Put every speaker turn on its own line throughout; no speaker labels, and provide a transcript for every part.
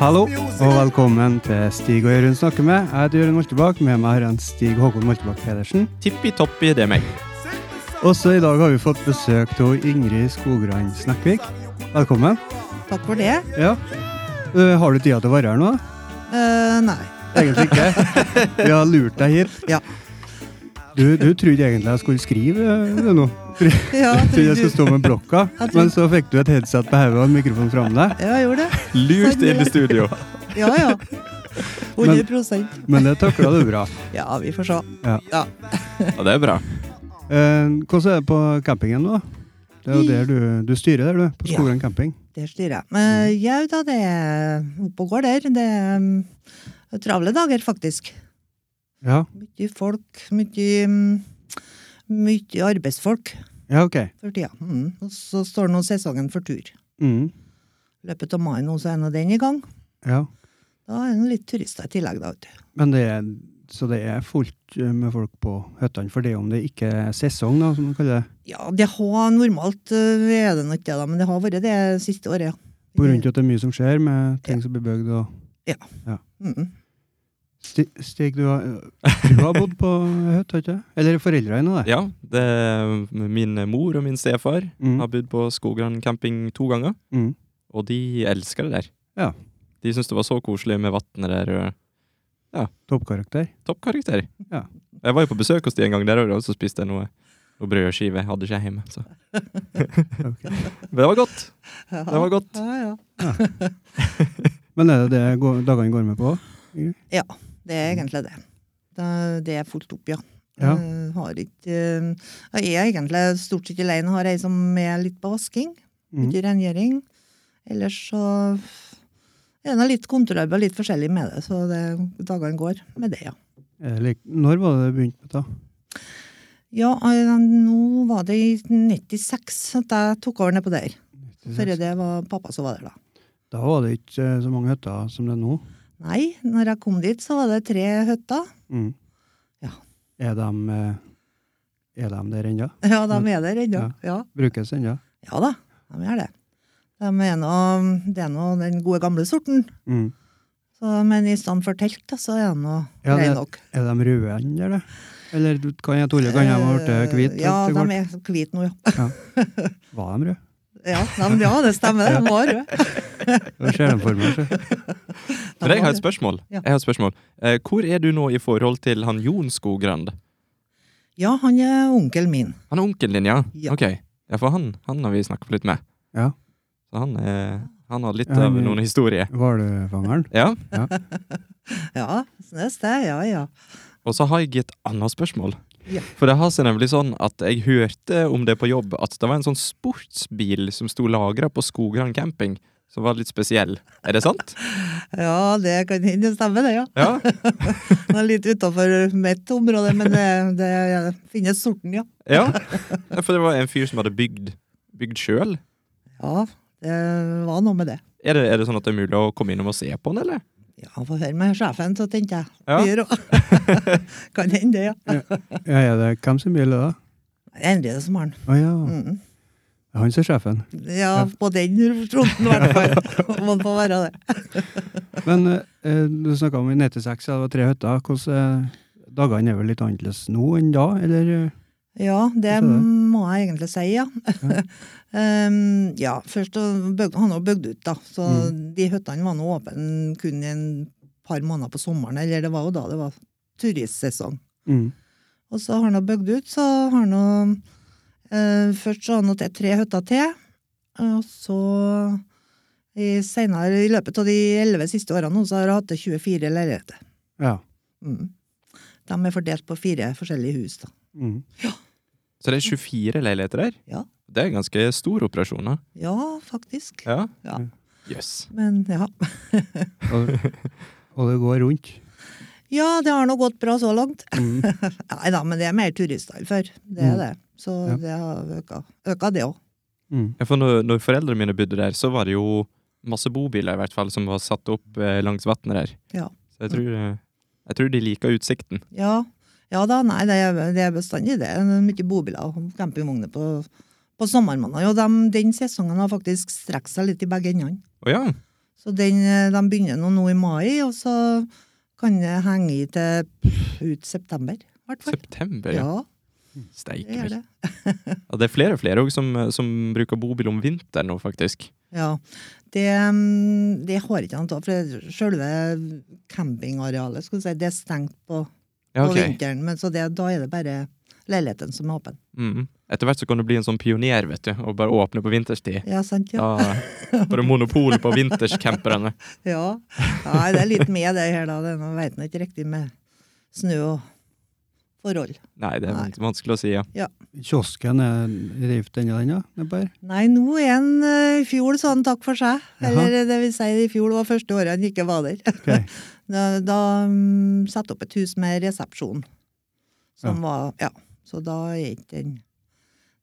Hallo og velkommen til Stig og Jørund snakker med. Jeg heter Jørund Moltebakk. Med meg har jeg en Stig Håkon Moltebakk Pedersen.
Tippi toppi, det er meg.
Også i dag har vi fått besøk av Ingrid Skogrand Snakkvik. Velkommen.
Takk for det.
Ja. Eh, har du tida til å være her nå?
Eh, nei.
Egentlig ikke. Vi har lurt deg hit.
Ja.
Du, du trodde egentlig jeg skulle skrive eh, det nå.
Ja,
Jeg trodde
tror
jeg skulle stå med blokka,
Jeg tror-
men så fikk du et headset på hodet og en mikrofon fram deg.
Ja, jeg gjorde det.
Lurt inn i studio.
Ja, ja. 100
Men det takla du bra.
Ja, vi får se.
Ja, det er bra.
Eh, hvordan er det på campingen nå? Det er jo der du, du styrer der, du. På
Ja.
Skogrand camping.
Det styrer jeg. Men eh, jau da, det er opp og går der. Det er mm, travle dager, faktisk.
Ja.
Mye folk, mye mm, Mye arbeidsfolk
ja, ok.
for tida. Mm. Og så står nå sesongen for tur.
Mm.
Løpet av mai nå, så er nå den i gang.
Ja.
Da er det litt turister i tillegg, da. vet du.
Men det er, så det er fullt eh, med folk på hyttene for det om det ikke er sesong, da, som man kaller det.
Ja, det har normalt øh, er det nok det, da, men det har vært det siste året, ja.
På grunn til at det er mye som skjer med ting som blir bygd og
Mm.
Sti- Stig, du har, eh, du har bodd på hytte, har ikke du? Eller foreldrene dine, det.
Ja, det er min mor og min stefar
Mm.
har bodd på Skogran camping to ganger,
Mm.
og de elsker det der.
Ja.
De syns det var så koselig med vannet der. og
Toppkarakter.
Toppkarakter.
Ja.
Jeg var jo på besøk hos de en gang der, og så spiste jeg noe, noe brødskive. Hadde ikke jeg hjemme, så. Men det var godt.
Ja.
Det var godt.
Ja, ja.
Men er det det går- dagene går med på?
Det er egentlig det. Da- Det er fullt opp, ja.
Ja.
Jeg har ikke eh, Jeg er egentlig stort sett alene. Har ei som er litt på vasking,
Mm.
ute i rengjøring. Ellers så er det litt kontorarbeid, litt forskjellig med det, så det, dagene går med det, ja.
Er det lik- Når var det det begynte med det?
Ja, eh, nå var det i 96 at jeg tok over nedpå der. Før det var pappa som var der, da.
Da var det ikke eh, så mange hytter som det er nå.
Nei, når jeg kom dit, så var det tre hytter.
Mm.
Ja.
Er de, eh, er de der ennå?
Ja, de er der ennå.
Ja.
Ja.
Brukes ennå?
Ja da, de gjør det. De er nå, det er nå den gode gamle sorten.
Mm.
Så, men i stedet for telt, da, så er det nå
Ja,
grei
det-
nok.
Er de røde ennå, eller? Eller du- kan jeg tulle? Kan de ha blitt hvite?
Eh, Ja,
etter
de
hvert?
er hvite nå, ja.
Var de røde?
Ja, de, ja det stemmer, de var røde.
Jeg ser dem for meg. så.
De
Men jeg
var
har et
røde.
spørsmål.
Ja.
Jeg har et spørsmål. Eh, Hvor er du nå i forhold til han Jon Skogrand?
Ja, han er onkelen min.
Han er onkelen din, ja?
Ja.
Ok. Ja, for han, han har vi snakket litt med.
Ja.
Så han, eh, han har litt
Ja,
av
vi-
noen historier.
Hvalfangeren.
Ja.
Ja, snøs det, ja ja.
Og så har jeg et annet spørsmål.
Ja.
For det har seg nemlig sånn at jeg hørte om det på jobb, at det var en sånn sportsbil som sto lagra på Skogran camping, som var litt spesiell. Er det sant?
Ja, det kan hende det stemmer, det, ja.
Ja.
Det er litt utafor mitt område, men det, det finnes sorten, ja.
ja. Ja, For det var en fyr som hadde bygd, bygd sjøl.
Ja, det var noe med det.
Er det, er det sånn at det er mulig å komme innom og se på den, eller?
Ja, få høre med sjefen, så tenkte jeg.
Ja.
Fyr også. kan hende det, ja.
Ja, er det hvem som gjelder da?
Det er Endre som har den.
Å ja,
Mm.
det er han som er sjefen.
Ja, på den fronten i hvert fall. Må få være det.
Men eh, du snakka om i 96, ja, det var tre hytter. Hvordan eh, Dagene er vel litt annerledes nå enn da, eller? eh?
Ja, det
Hvorfor det?
må jeg egentlig si, ja. um, ja, først å bygge- han har bygd ut, da. Så de hyttene var nå åpne kun i en par måneder på sommeren. Eller det var jo da det var turistsesong.
Mm.
Og så har han da bygd ut, så har han da, eh, Først så har han tatt tre hytter til. eh, Og så i, senere, i løpet av de elleve siste årene nå, så har han hatt til 24 leiligheter.
Ja.
Mm. De er fordelt på fire forskjellige hus. da.
Mm.
Så det er 24 leiligheter der?
Ja.
Det er en ganske stor operasjon, da.
Ja, faktisk.
Ja.
Ja.
Jøss.
Men ja.
Og, og det går rundt.
ja, det har nå gått bra så langt.
Mm.
Nei da, men det er mer turister enn før. Det er
Mm.
det. Så
Ja.
det har øka, øka det òg.
Mm.
Ja, for når, når foreldrene mine bodde der, så var det jo masse bobiler i hvert fall som var satt opp eh, langs vannet der.
Ja.
Så jeg tror, eh, jeg tror de liker utsikten.
Ja. ja da, nei, det er, det er bestandig det. Det er Mye bobiler og campingvogner på, på sommermånedene. Og dem- den sesongen har faktisk strekt seg litt i begge endene.
Å ja,
Så den, eh, de begynner nå, nå i mai, og så kan det henge i til pff, ut september, i hvert fall.
September, ja.
Ja, det
Steike
gjør
meg.
det.
Ja, det er flere og flere også som, eh, som bruker bobil om vinteren nå, faktisk.
Ja, det, mm, det har ikke noe av, for selve campingarealet skulle du si, det er stengt på,
Ja,
på
ok.
vinteren. Men så det, da er det bare leiligheten som er åpen.
Mm. Etter hvert så kan du bli en sånn pioner, vet du, og bare åpne på vinterstid.
Ja, sant? Ja.
Da får du monopol på vinterscamperne.
ja. Nei, det er litt med det her, da. Det er noe- vet nå ikke riktig med snø og forhold.
Nei, det er
Nei.
vanskelig å si, ja.
Kiosken er revet den og den, ja? Nebber?
Nei, nå er han eh, i fjor sa han takk for seg.
Jaha.
Eller eh, det vil si, i fjor var første året han ikke var der.
Ok.
Da, da mm, satte opp et hus med resepsjon. Som
Ja.
var Ja. Så da er ikke den,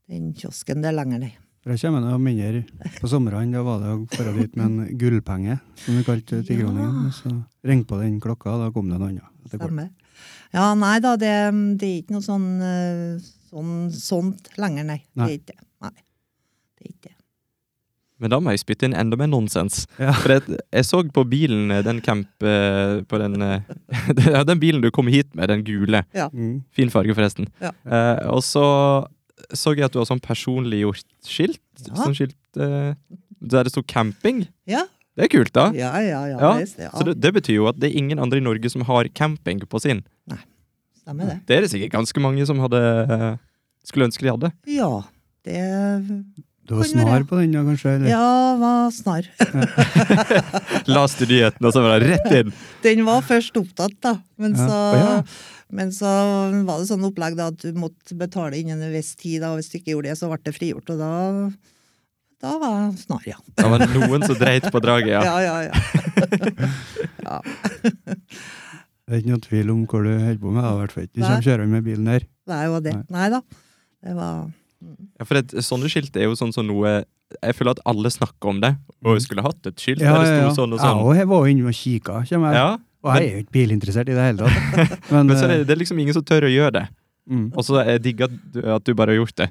den kiosken der lenger, nei.
For jeg kommer noe mindre på somrene. Da var det å dra dit med en gullpenge, som vi kalte tikroningen.
Ja.
Så ringte på den klokka, og da kom det noe annet. etter hvert.
Stemmer. Ja, nei da, det, det er ikke noe sånn, eh, sånn sånt lenger, nei. Det
Nei.
er ikke det. Nei. Det er ikke det.
Men da må jeg spytte inn enda mer nonsens.
Ja.
For jeg, jeg så på bilen, eh, den camp eh, på den, eh, ja, den bilen du kom hit med, den gule.
Mm.
Fin farge, forresten.
Ja.
Eh, og så så jeg at du har sånn personliggjort skilt.
Ja.
Sånn skilt eh, der det sto camping.
Ja,
Det er kult, da.
ja, ja. ja,
Ja,
visst, ja.
Så det, det betyr jo at det er ingen andre i Norge som har camping på sin.
Stemmer det.
Det er det sikkert ganske mange som hadde eh, skulle ønske de hadde.
Ja. Det
Du var
Kan være, ja.
snar på den da, kanskje? Eller?
Ja, var snar.
Leste nyheten, og så var det rett inn!
Den var først opptatt, da. Men
Ja.
så,
Å, ja.
men så var det sånn opplegg da, at du måtte betale innen en viss tid. Da, og hvis du ikke gjorde det, så ble det frigjort. Og da, da var jeg snar, ja.
Det var noen som dreit på draget, ja.
Ja, ja, ja.
Det er ikke noen tvil om hvor du holder på med. da, i hvert fall ikke. Hvis
Nei.
de kjører med bilen her.
Det er jo det. Nei da. Det var
Ja, for det, sånne skilt er jo sånn som noe Jeg føler at alle snakker om det. Og jeg skulle hatt et skilt der det sto sånn og sånn.
Jeg òg var inne og kikka, kommer jeg.
Ja,
Og jeg er jo ikke bilinteressert i det hele tatt. Men,
men så er det, det er liksom ingen som tør å gjøre det.
eh, mm.
Og så jeg digger at du- at du bare har gjort det.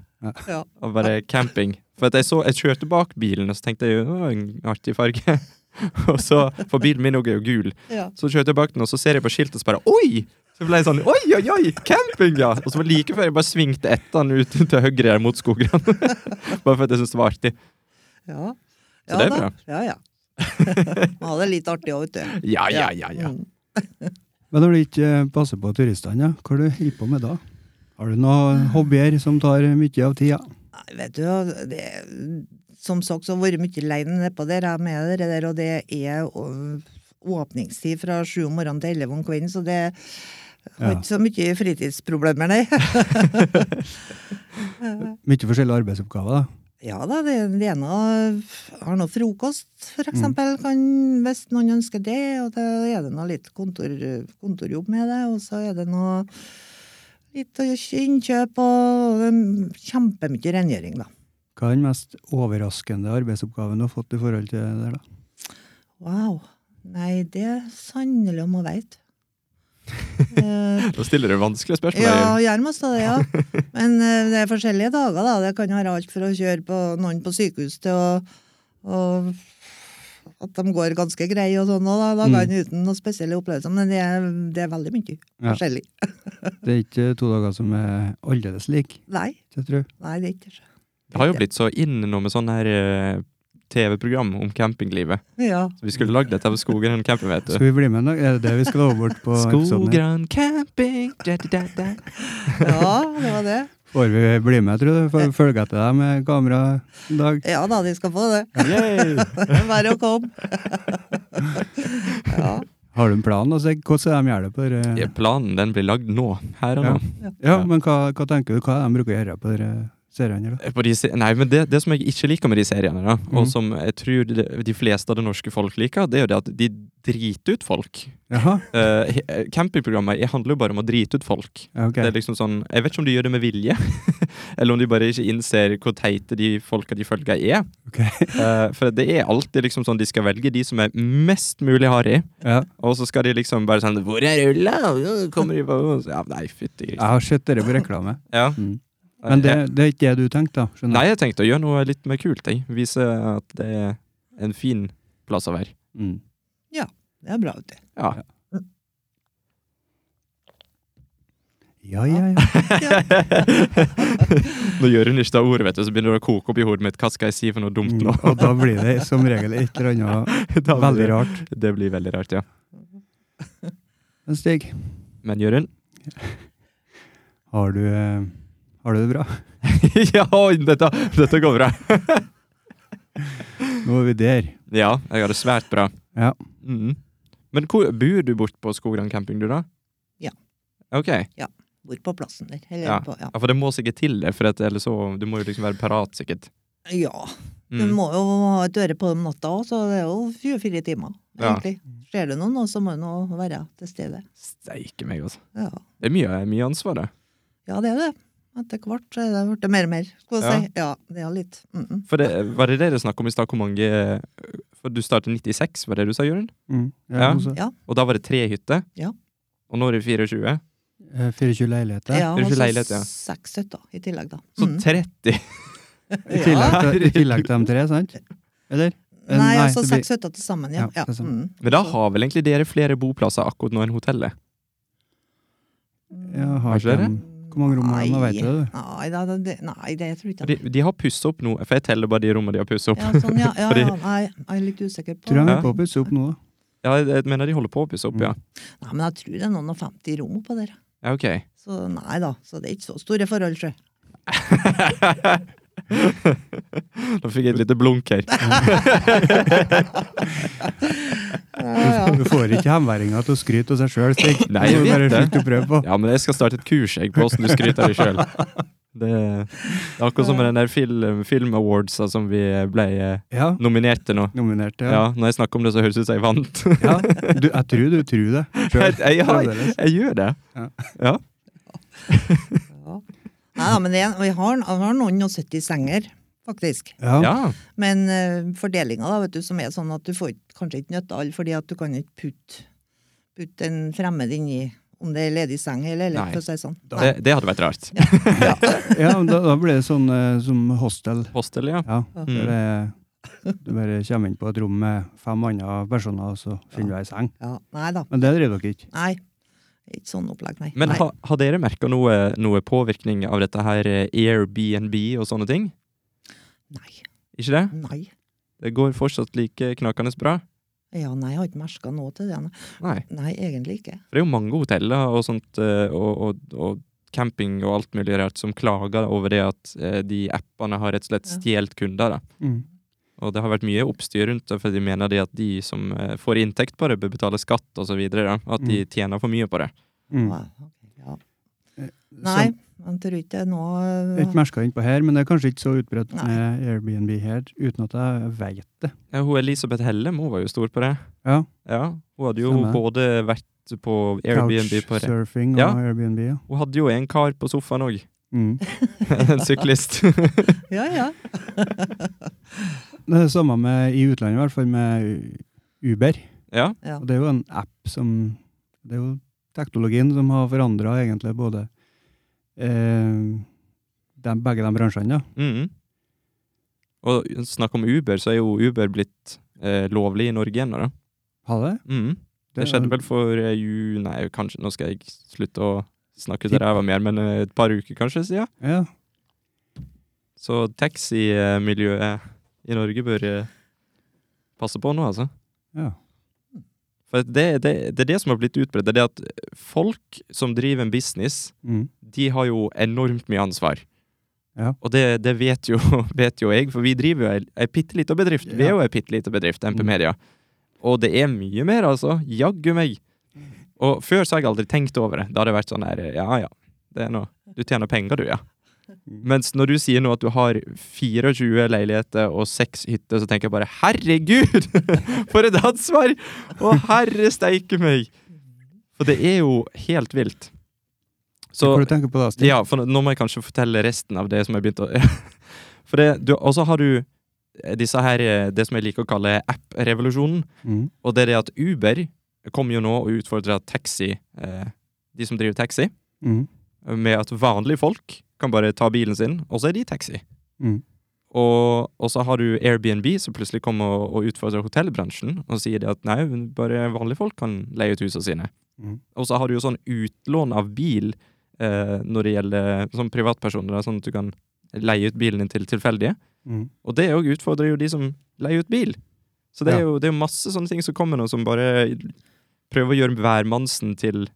Ja.
Og bare camping. For at jeg så, jeg kjørte bak bilen, og så tenkte jeg jo, «Å, en artig farge. og så, for bilen min også er jo gul.
ja.
Så kjørte jeg bak den, og så ser jeg på skiltet, og så bare oi! Så ble jeg sånn oi, oi, oi, camping, ja! Og så var det like før jeg bare svingte etter den ut til høyre der mot skogene. bare for at jeg syntes det var artig.
ja.
Så det er bra.
Ja, ja. Man hadde det litt artig òg, vet du.
Ja, ja, ja, ja.
Mm.
Men når du ikke eh, passer på turistene, ja, hva holder du holder på med da? Har du
Ah.
noen hobbyer som tar mye av tida?
Nei, vet du, det, som sagt så har jeg vært mye leien nedpå der, jeg med dere der, og det er å- åpningstid fra sju om morgenen til elleve om kvelden, så det har
Ja.
ikke så mye fritidsproblemer, nei.
Mye forskjellige arbeidsoppgaver, da.
Ja da, det, det ene har noe frokost, for eksempel, kan, hvis noen ønsker det, og det er det noe litt kontor, kontorjobb med det, og så er det noe litt å gjø- innkjøp, og det er kjempemye rengjøring, da.
Hva er den mest overraskende arbeidsoppgaven du har fått i forhold til det der, da?
Wow. Nei, det er sannelig om å veit. Eh,
Da stiller du vanskelige spørsmål.
ja, nærmest da det, ja. Men eh, det er forskjellige dager, da. Det kan være alt fra å kjøre på noen på sykehus til å, å At de går ganske greie og sånn òg, da. Dagene uten noen spesielle opplevelser. Men det er, det er veldig mye
Ja.
forskjellig.
Det er ikke to dager som er aldeles like,
Nei,
jeg tror.
nei, det er ikke det.
Det har jo blitt så inn nå med sånn her eh, TV-program om campinglivet.
Ja.
Så vi skulle lagd dette med Skogran camping, vet du.
Skal vi bli med en dag? Er det det vi skal over bort på episoden? her?
Skogran camping da, da, da, da.
ja, det var det.
Får vi bli med, tror du? Får vi følge etter deg med kamera en dag?
Ja da, de skal få det.
Yay!
Bare å komme. Ja.
Har du en plan? Altså, hvordan de gjør det på dere?
Ja, planen den blir lagd nå. Her og nå.
Ja, men hva, hva tenker du? Hva er det de bruker å gjøre på dere seriene? her, da?
På de, se- nei, men det, det som jeg ikke liker med de seriene, da, og
Mhm.
som jeg tror de, de fleste av det norske folk liker, det er jo det at de driter ut folk.
Jaha,
Eh, he- eh, campingprogrammet jeg handler jo bare om å drite ut folk.
ja, ok.
Det er liksom sånn, Jeg vet ikke om de gjør det med vilje, eller om de bare ikke innser hvor teite de folka de følger, er.
Ok.
Eh, for det er alltid liksom sånn de skal velge de som er mest mulig harry,
Ja.
og så skal de liksom bare sånn 'Hvor er rulla?' Og så Kommer de bare ja, Nei, fytti
Jeg har sett dere på reklame.
Ja.
Mm. Men det, det er ikke det du tenkte, da? Skjønner
Nei, jeg tenkte å gjøre noe litt mer kult. Jeg. Vise at det er en fin plass å være.
Mm.
Det er bra, vet du.
Ja.
Ja, ja, ja.
Nå gjør hun ikke det ordet, vet du, så begynner det å koke opp i hodet mitt. Hva skal jeg si for noe dumt
Mm,
nå?
og da blir det som regel et eller annet
Da blir
veldig
det-
rart.
Det blir veldig rart, ja.
Men Stig,
Men Jørund?
har du, eh, har du det bra?
ja, oi, dette, dette går bra.
Nå er vi der.
Ja, jeg har det svært bra.
Ja.
Mhm. Men hvor bor du bort på Skogran camping, du da?
Ja.
Ok, ja,
Bor på plassen der. Eller
Ja.
på, ja.
for det må sikkert til det, for at, ellers så, du må jo liksom være parat sikkert.
ja. Du
Mm.
må jo ha et øre på dem natta òg, så det er jo 24 timer,
Ja.
egentlig. Ser du noen, så må du nå være til stede.
Steike meg, altså.
Ja,
Det er mye, mye ansvar, det.
ja det er det. Etter hvert så er det blitt mer og mer, skal vi si. Ja, det er litt. Mm -mm.
For det, var det det dere snakket om i stad, hvor mange eh, For du startet 96, var det du sa, Jørund?
Mm.
Ja.
altså,
Ja.
Og da var det tre hytter?
Ja.
Og nå er det 24?
eh, 24 leiligheter.
Ja,
Det er ikke
og så
leilighet, ja.
Seks hytter i tillegg, da.
Så
Mm.
30!
I, tillegg til, I tillegg til de tre, sant? Eller? Eh,
Nei,
nei,
altså
det blir-
seks hytter til sammen, ja.
Ja,
ja.
til sammen.
Mm.
Men da
Så-
har vel egentlig dere flere boplasser akkurat nå enn hotellet?
Ja, har
Har ikke
ikke
dere?
de- Hvor mange rom har de? Nå vet du det.
Mm. Nei, da, da- det, nei, det tror jeg ikke.
For de, de har pussa opp nå, for jeg teller bare de rommene de har pussa opp.
Ja, sånn, ja, ja,
Fordi-
ja, nei, jeg er litt usikker på
Tror jeg de er på
Nei,
å pusse opp nå, da.
Ja, jeg- jeg mener de holder på å pusse opp, ja.
men jeg tror det er noen og 50 rom oppå der.
Ja, ok.
Så nei da, så det er ikke så store forhold, sjø.
Nå fikk jeg et lite blunk her.
Du får ikke hemværinga til å skryte av seg sjøl, Stig. Du
Nei, jeg
må
vet
bare
det.
slutte å prøve på.
Ja, men jeg skal starte et kurs jeg, på åssen du skryter av deg sjøl. Det, det er akkurat som med den der film, film awards da, som vi ble eh,
Ja,
nominert til nå.
nominert til. Ja.
Ja, Når jeg snakker om det, så høres det ut som jeg vant.
Ja. Du, jeg tror du tror det.
Jeg,
Selv.
jeg, jeg,
Fremdeles.
gjør det.
Ja.
Ja.
Ja. Nei da, men det, er- vi har, vi har noen og 70 senger, faktisk.
Ja.
ja.
Men uh, fordelinga, da, vet du, som er sånn at du får ikke- kanskje ikke nytte av alle, fordi at du kan ikke putte putt en fremmed inni om det er ledig seng eller eller
Nei.
for å si det sånn.
Det, det hadde vært rart.
ja men da, da blir det sånn eh, som hostel.
Hostel, ja.
Ja.
Ja.
Der
Mm.
det- du bare kommer inn på et rom med fem andre personer, og så finner du ei seng.
Ja, nei da.
Men det driver dere ikke.
Nei. Ikke sånn opplegg, nei.
Men
nei.
ha, har dere merka noe, noe påvirkning av dette her eh, Airbnb og sånne ting?
nei.
Ikke det?
Nei.
Det går fortsatt like knakende bra?
Ja, nei, jeg har ikke merka noe til det. nei.
Nei.
Nei, egentlig ikke.
For det er jo mange hoteller og sånt, eh, og, og, og camping og alt mulig rart, som klager over det at eh, de appene har rett og slett
Ja.
stjålet kunder. Da.
Mm.
Og det har vært mye oppstyr rundt det, for de mener det at de som eh, får inntekt på det, bør betale skatt osv. At de tjener for mye på det.
Mm.
Ja, ok, ja. Nei,
Sånn,
jeg tror ikke det er noe
jeg er ikke merka innpå her, men det er kanskje ikke så utbredt
Nei.
med Airbnb her, uten at jeg veit det.
Ja, hun Elisabeth Hellem hun var jo stor på det.
Ja,
Ja, Hun hadde jo
Stemmer.
både vært på Airbnb på det.
Couchsurfing og
Ja.
Airbnb, ja.
Hun hadde jo en kar på sofaen òg.
Mm.
en syklist.
Ja, ja.
Det er det samme med, i utlandet, i hvert fall med U- Uber.
ja.
ja.
Og det er jo en app som Det er jo teknologien som har forandra egentlig både eh, de, begge de bransjene, ja.
Mhm. Og snakk om Uber, så er jo Uber blitt eh, lovlig i Norge ennå, da.
Har Mm. det?
Mhm. Det
er-
skjedde vel for eh, ju... Nei, kanskje Nå skal jeg slutte å snakke til
Tipp.
ræva mer, men eh, et par uker kanskje siden.
Ja.
Så taximiljøet i Norge bør eh, passe på nå, altså.
ja.
For det, det, det er det som har blitt utbredt. Det er det at folk som driver en business,
Mm.
de har jo enormt mye ansvar.
Ja.
Og det, det vet, jo, vet jo jeg, for vi driver jo ei- ei bitte lita bedrift. Vi er jo ei bitte lita bedrift, MP
Mm.
Media. Og det er mye mer, altså. Jaggu meg. Og før så har jeg aldri tenkt over det. Da har det vært sånn her, ja ja, det er noe. Du tjener penger, du, ja.
Mm.
Mens når du sier nå at du har 24 leiligheter og 6 hytter, så tenker jeg bare herregud! For et ansvar! Å herre steike meg! For det er jo helt vilt. Så
Hva du tenker på da, Stig?
ja, for nå- nå må jeg kanskje fortelle resten av det som jeg begynte å For det, du, Og så har du eh, disse her, eh, det som jeg liker å kalle app-revolusjonen.
Mm.
Og det er det at Uber kommer jo nå og utfordrer taxi, eh, de som driver taxi,
Mm.
med at vanlige folk kan bare ta bilen sin, og så er de taxi.
Mm.
Og, og så har du Airbnb, som plutselig kommer og, og utfordrer hotellbransjen og sier det at nei, bare vanlige folk kan leie ut husene sine.
Mhm.
Og så har du jo sånn utlån av bil eh, når det gjelder sånn privatpersoner, da, sånn at du kan leie ut bilen din til tilfeldige.
Mm.
Og det òg utfordrer jo de som leier ut bil. Så det er,
Ja.
jo, det er jo masse sånne ting som kommer nå, som bare prøver å gjøre hvermannsen til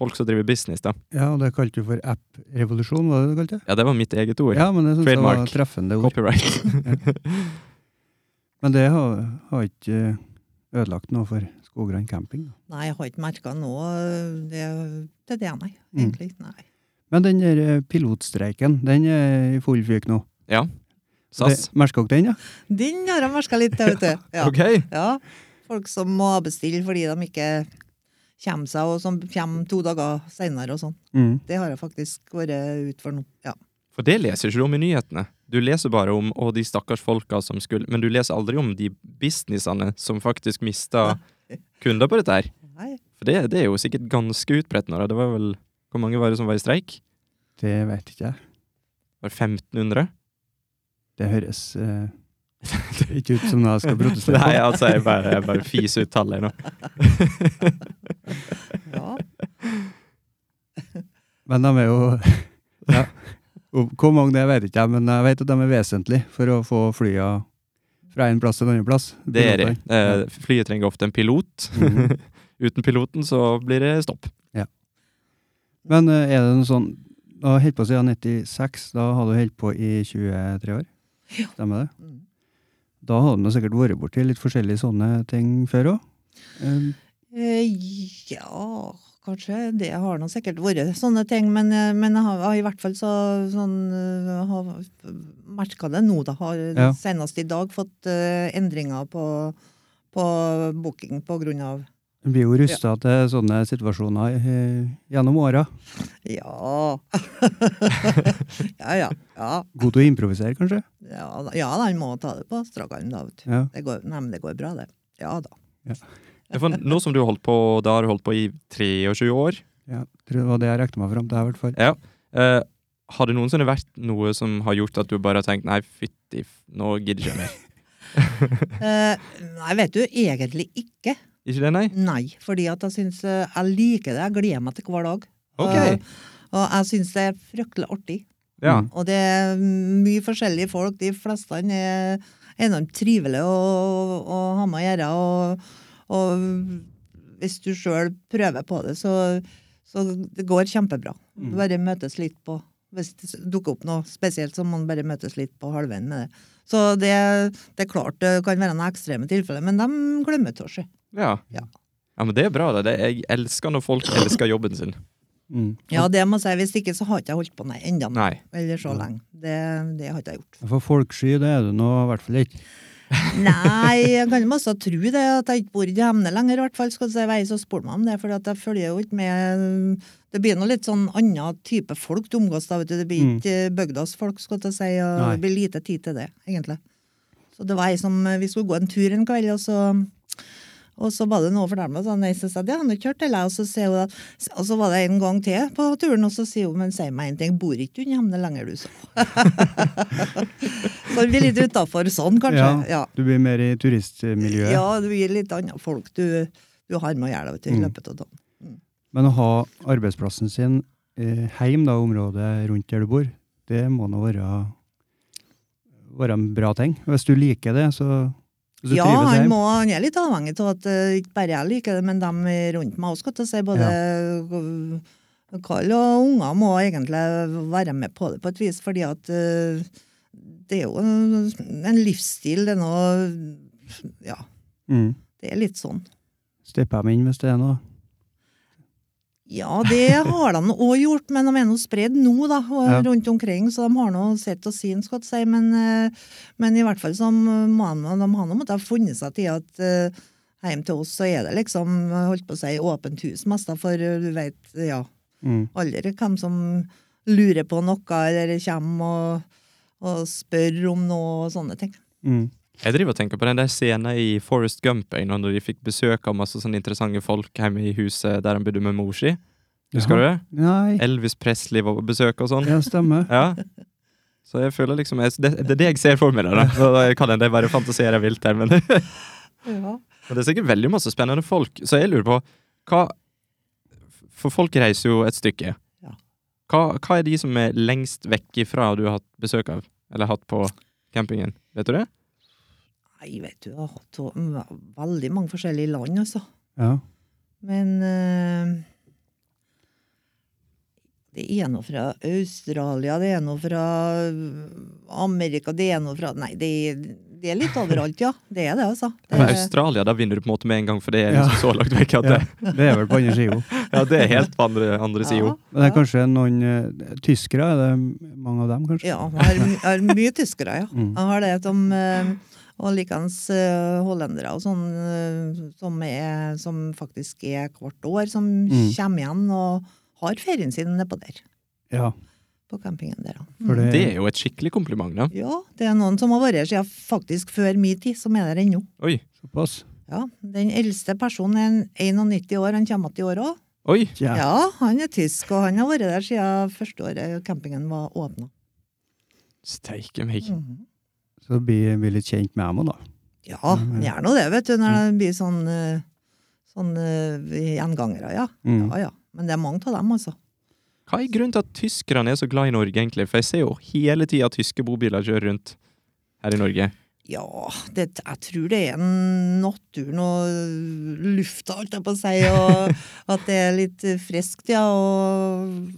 folk som driver business, da.
Ja, og det kalte du for app-revolusjon, var det det du kalte?
Ja, det var mitt eget ord.
Ja, men det synes jeg var
Trademark.
et treffende ord.
Copyright.
Men det har, har ikke eh, ødelagt noe for Skogran camping. da.
Nei, jeg har ikke merka noe det, det er det, nei.
Mm.
Egentlig. Nei.
Men den der eh, pilotstreiken, den er i full fyk nå.
ja. SAS.
Det- Merker dere den, ja?
Den har jeg merka litt, det, vet du. Ja.
Ok.
ja. Folk som må avbestille fordi de ikke kommer seg, og som kommer to dager seinere og sånn.
Mm.
Det har jeg faktisk vært ut for nå. Ja.
For det leser ikke du om i nyhetene. Du leser bare om å, de stakkars folka som skulle Men du leser aldri om de businessene som faktisk mista kunder på dette her.
Nei.
For det, det er jo sikkert ganske utbredt nå. da. Det var vel Hvor mange var det som var i streik?
Det vet ikke jeg.
Var det 1500?
Det høres eh, ikke ut som noe jeg skal protestere
Nei,
på.
altså, jeg bare, jeg bare fiser ut tallet nå.
Ja.
Men de er jo ja. Og Hvor mange det er, vet ikke jeg, men jeg vet at de er vesentlige for å få flya fra en plass til en annen plass.
Det er det.
Ja.
Eh, Flyet trenger ofte en pilot.
Mhm.
Uten piloten så blir det stopp.
Men eh, er det noe sånn Da holdt på siden 96, da har du holdt på i 23 år? Stemmer det?
Mm.
Da har du nå sikkert vært borti litt forskjellige sånne ting før òg?
Eh, Ja, kanskje. Det har nå sikkert vært sånne ting, men, eh, men jeg har, jeg har i hvert fall så, sånn eh, har merka det nå, da. Har
Ja.
senest i dag fått eh, endringer på, på booking på grunn av
En blir jo rusta til sånne situasjoner eh, gjennom åra.
Ja. ja, ja. Ja,
God til å improvisere, kanskje?
ja, da- ja da, han må ta det på strak arm, da. vet du.
Ja.
Det går, nei, men det går bra, det. Ja da.
Ja, for Nå som du har holdt på, da har du holdt på i 23 år.
ja tror det var det jeg rekte meg fram til, i hvert fall.
Eh, har det noensinne vært noe som har gjort at du bare har tenkt nei, fytti, f- nå gidder jeg ikke mer?
Eh, nei, vet du, egentlig ikke.
Ikke det, nei?
Nei, fordi at jeg syns eh, jeg liker det. Jeg gleder meg til hver dag.
Ok.
Eh, og jeg syns det er fryktelig artig.
Ja.
Mm.
Og det er mye forskjellige folk. De fleste er enormt trivelige å, å ha med å gjøre. Og, og hvis du sjøl prøver på det, så, så det går kjempebra.
Mm.
Bare møtes litt på Hvis det dukker opp noe spesielt, så må man bare møtes litt på halvveien med det. Så det, det er klart det kan være noen ekstreme tilfeller, men de glemmer til å se.
Ja.
Ja.
ja, men det er bra. det. det. Jeg elsker når folk elsker jobben sin.
Mm.
Ja, det må jeg si. Hvis ikke så har ikke jeg holdt på med ennå.
Nei.
Eller så lenge. Det, det har ikke jeg gjort.
For folksky, det er du nå i hvert fall ikke.
Nei, jeg kan jo også tro det, at jeg ikke bor i Hemne lenger, i hvert fall. Skal du si vei, så spør meg om det, for jeg følger jo ikke med Det blir nå litt sånn annen type folk du omgås, da, vet du. Det blir
Mm.
ikke bygdas folk, skal jeg si, og
Nei.
det blir lite tid til det, egentlig. Så det var ei som Vi skulle gå en tur en kveld, og så og så var det noe for dem, og så nei, så sa jeg, det har han ikke hørt, eller? Og så, sier hun, at- og så var det en gang til på turen, og så sier hun, men si meg en ting, bor ikke du i Hemne lenger, du, så? så vi er litt utafor sånn, kanskje. ja.
Du blir mer i turistmiljøet.
Ja, du gir litt andre folk du, du har med å gjøre det, vet du, i
Mm.
løpet av dagen.
Men å ha arbeidsplassen sin eh, heim, da, området rundt der du bor, det må nå være, være en bra ting. Hvis du liker det, så hvis du
Ja,
trives
han,
heim.
må, han er litt avhengig av at eh, ikke bare jeg liker det, men de rundt meg også, skal jeg si. Både eh, Karl og unger må egentlig være med på det på et vis, fordi at eh, det er jo en, en livsstil. Det er noe Ja,
Mm.
det er litt sånn.
Steppe dem inn hvis det er noe.
Ja, det har de òg gjort, men de er nå spredd nå, da, og
Ja.
rundt omkring. Så de har nå sett og sin, skal jeg si. Men, eh, men i hvert fall så må de, de har nå måttet ha funnet seg til at eh, hjem til oss så er det liksom, eh, holdt på å si, åpent hus mest, da, for eh, du vet, ja,
Mm.
aldri hvem som lurer på noe, eller kommer og, og spør om noe og sånne ting.
Mm.
Jeg driver og tenker på den der scenen i Forest Gump jeg, nå, når de fikk besøk av masse sånne interessante folk hjemme i huset der han bodde med mor si. Husker du det?
Nei,
Elvis Presley var på besøk og sånn.
ja, stemmer.
Ja. Så jeg føler liksom jeg, det, det er det jeg ser for meg der. da. Så da kan jeg bare fantasere vilt her, men
Ja.
Men det er sikkert veldig masse spennende folk, så jeg lurer på hva For folk reiser jo et stykke.
Ja.
Hva, hva er de som er lengst vekk ifra du har hatt besøk av, eller hatt på campingen? Vet du det?
Nei, vet du, jeg har hatt så- mm, veldig mange forskjellige land, altså.
Ja.
Men eh, det er noe fra Australia, det er noe fra eh, Amerika, det er noe fra Nei, det, det er litt overalt, ja. Det er det, altså. Det,
Men Australia, da vinner du på en måte med en gang, for det er
Ja.
liksom så langt vekk at det,
Det er vel på andre sida.
ja, det er helt på andre, andre sida.
Men det er
ja.
kanskje noen eh, tyskere, er det mange av dem, kanskje?
Ja, jeg har, my- jeg har mye tyskere, ja.
Mm.
Jeg har det som eh, Og likeens eh, hollendere og sånn, eh, som, er, som faktisk er hvert år, som
Mm.
kommer igjen og har ferien sin nedpå der.
Ja,
På campingen der, ja.
for
Mm.
det,
Det er jo et skikkelig kompliment, da.
Ja, det er noen som har vært her siden faktisk før min tid, som er der ennå.
Oi,
såpass.
Ja, Den eldste personen er en 91 år, han kommer igjen i år òg.
oi,
Ja.
Ja, han er tysk, og han har vært der siden første året campingen var åpna.
steike meg.
Mhm. Så bli, bli litt kjent med dem òg, da.
Ja, han gjør nå det, vet du, når det blir sånn, eh, sånn eh, gjengangere, ja.
Mm.
ja. Ja, Men det er mange av dem, altså.
Hva er grunnen til at tyskerne er så glad i Norge, egentlig? For jeg ser jo hele tida tyske bobiler kjører rundt her i Norge.
Ja, det, jeg tror det er en naturen og lufta, holdt jeg på å si, og at det er litt friskt, ja, og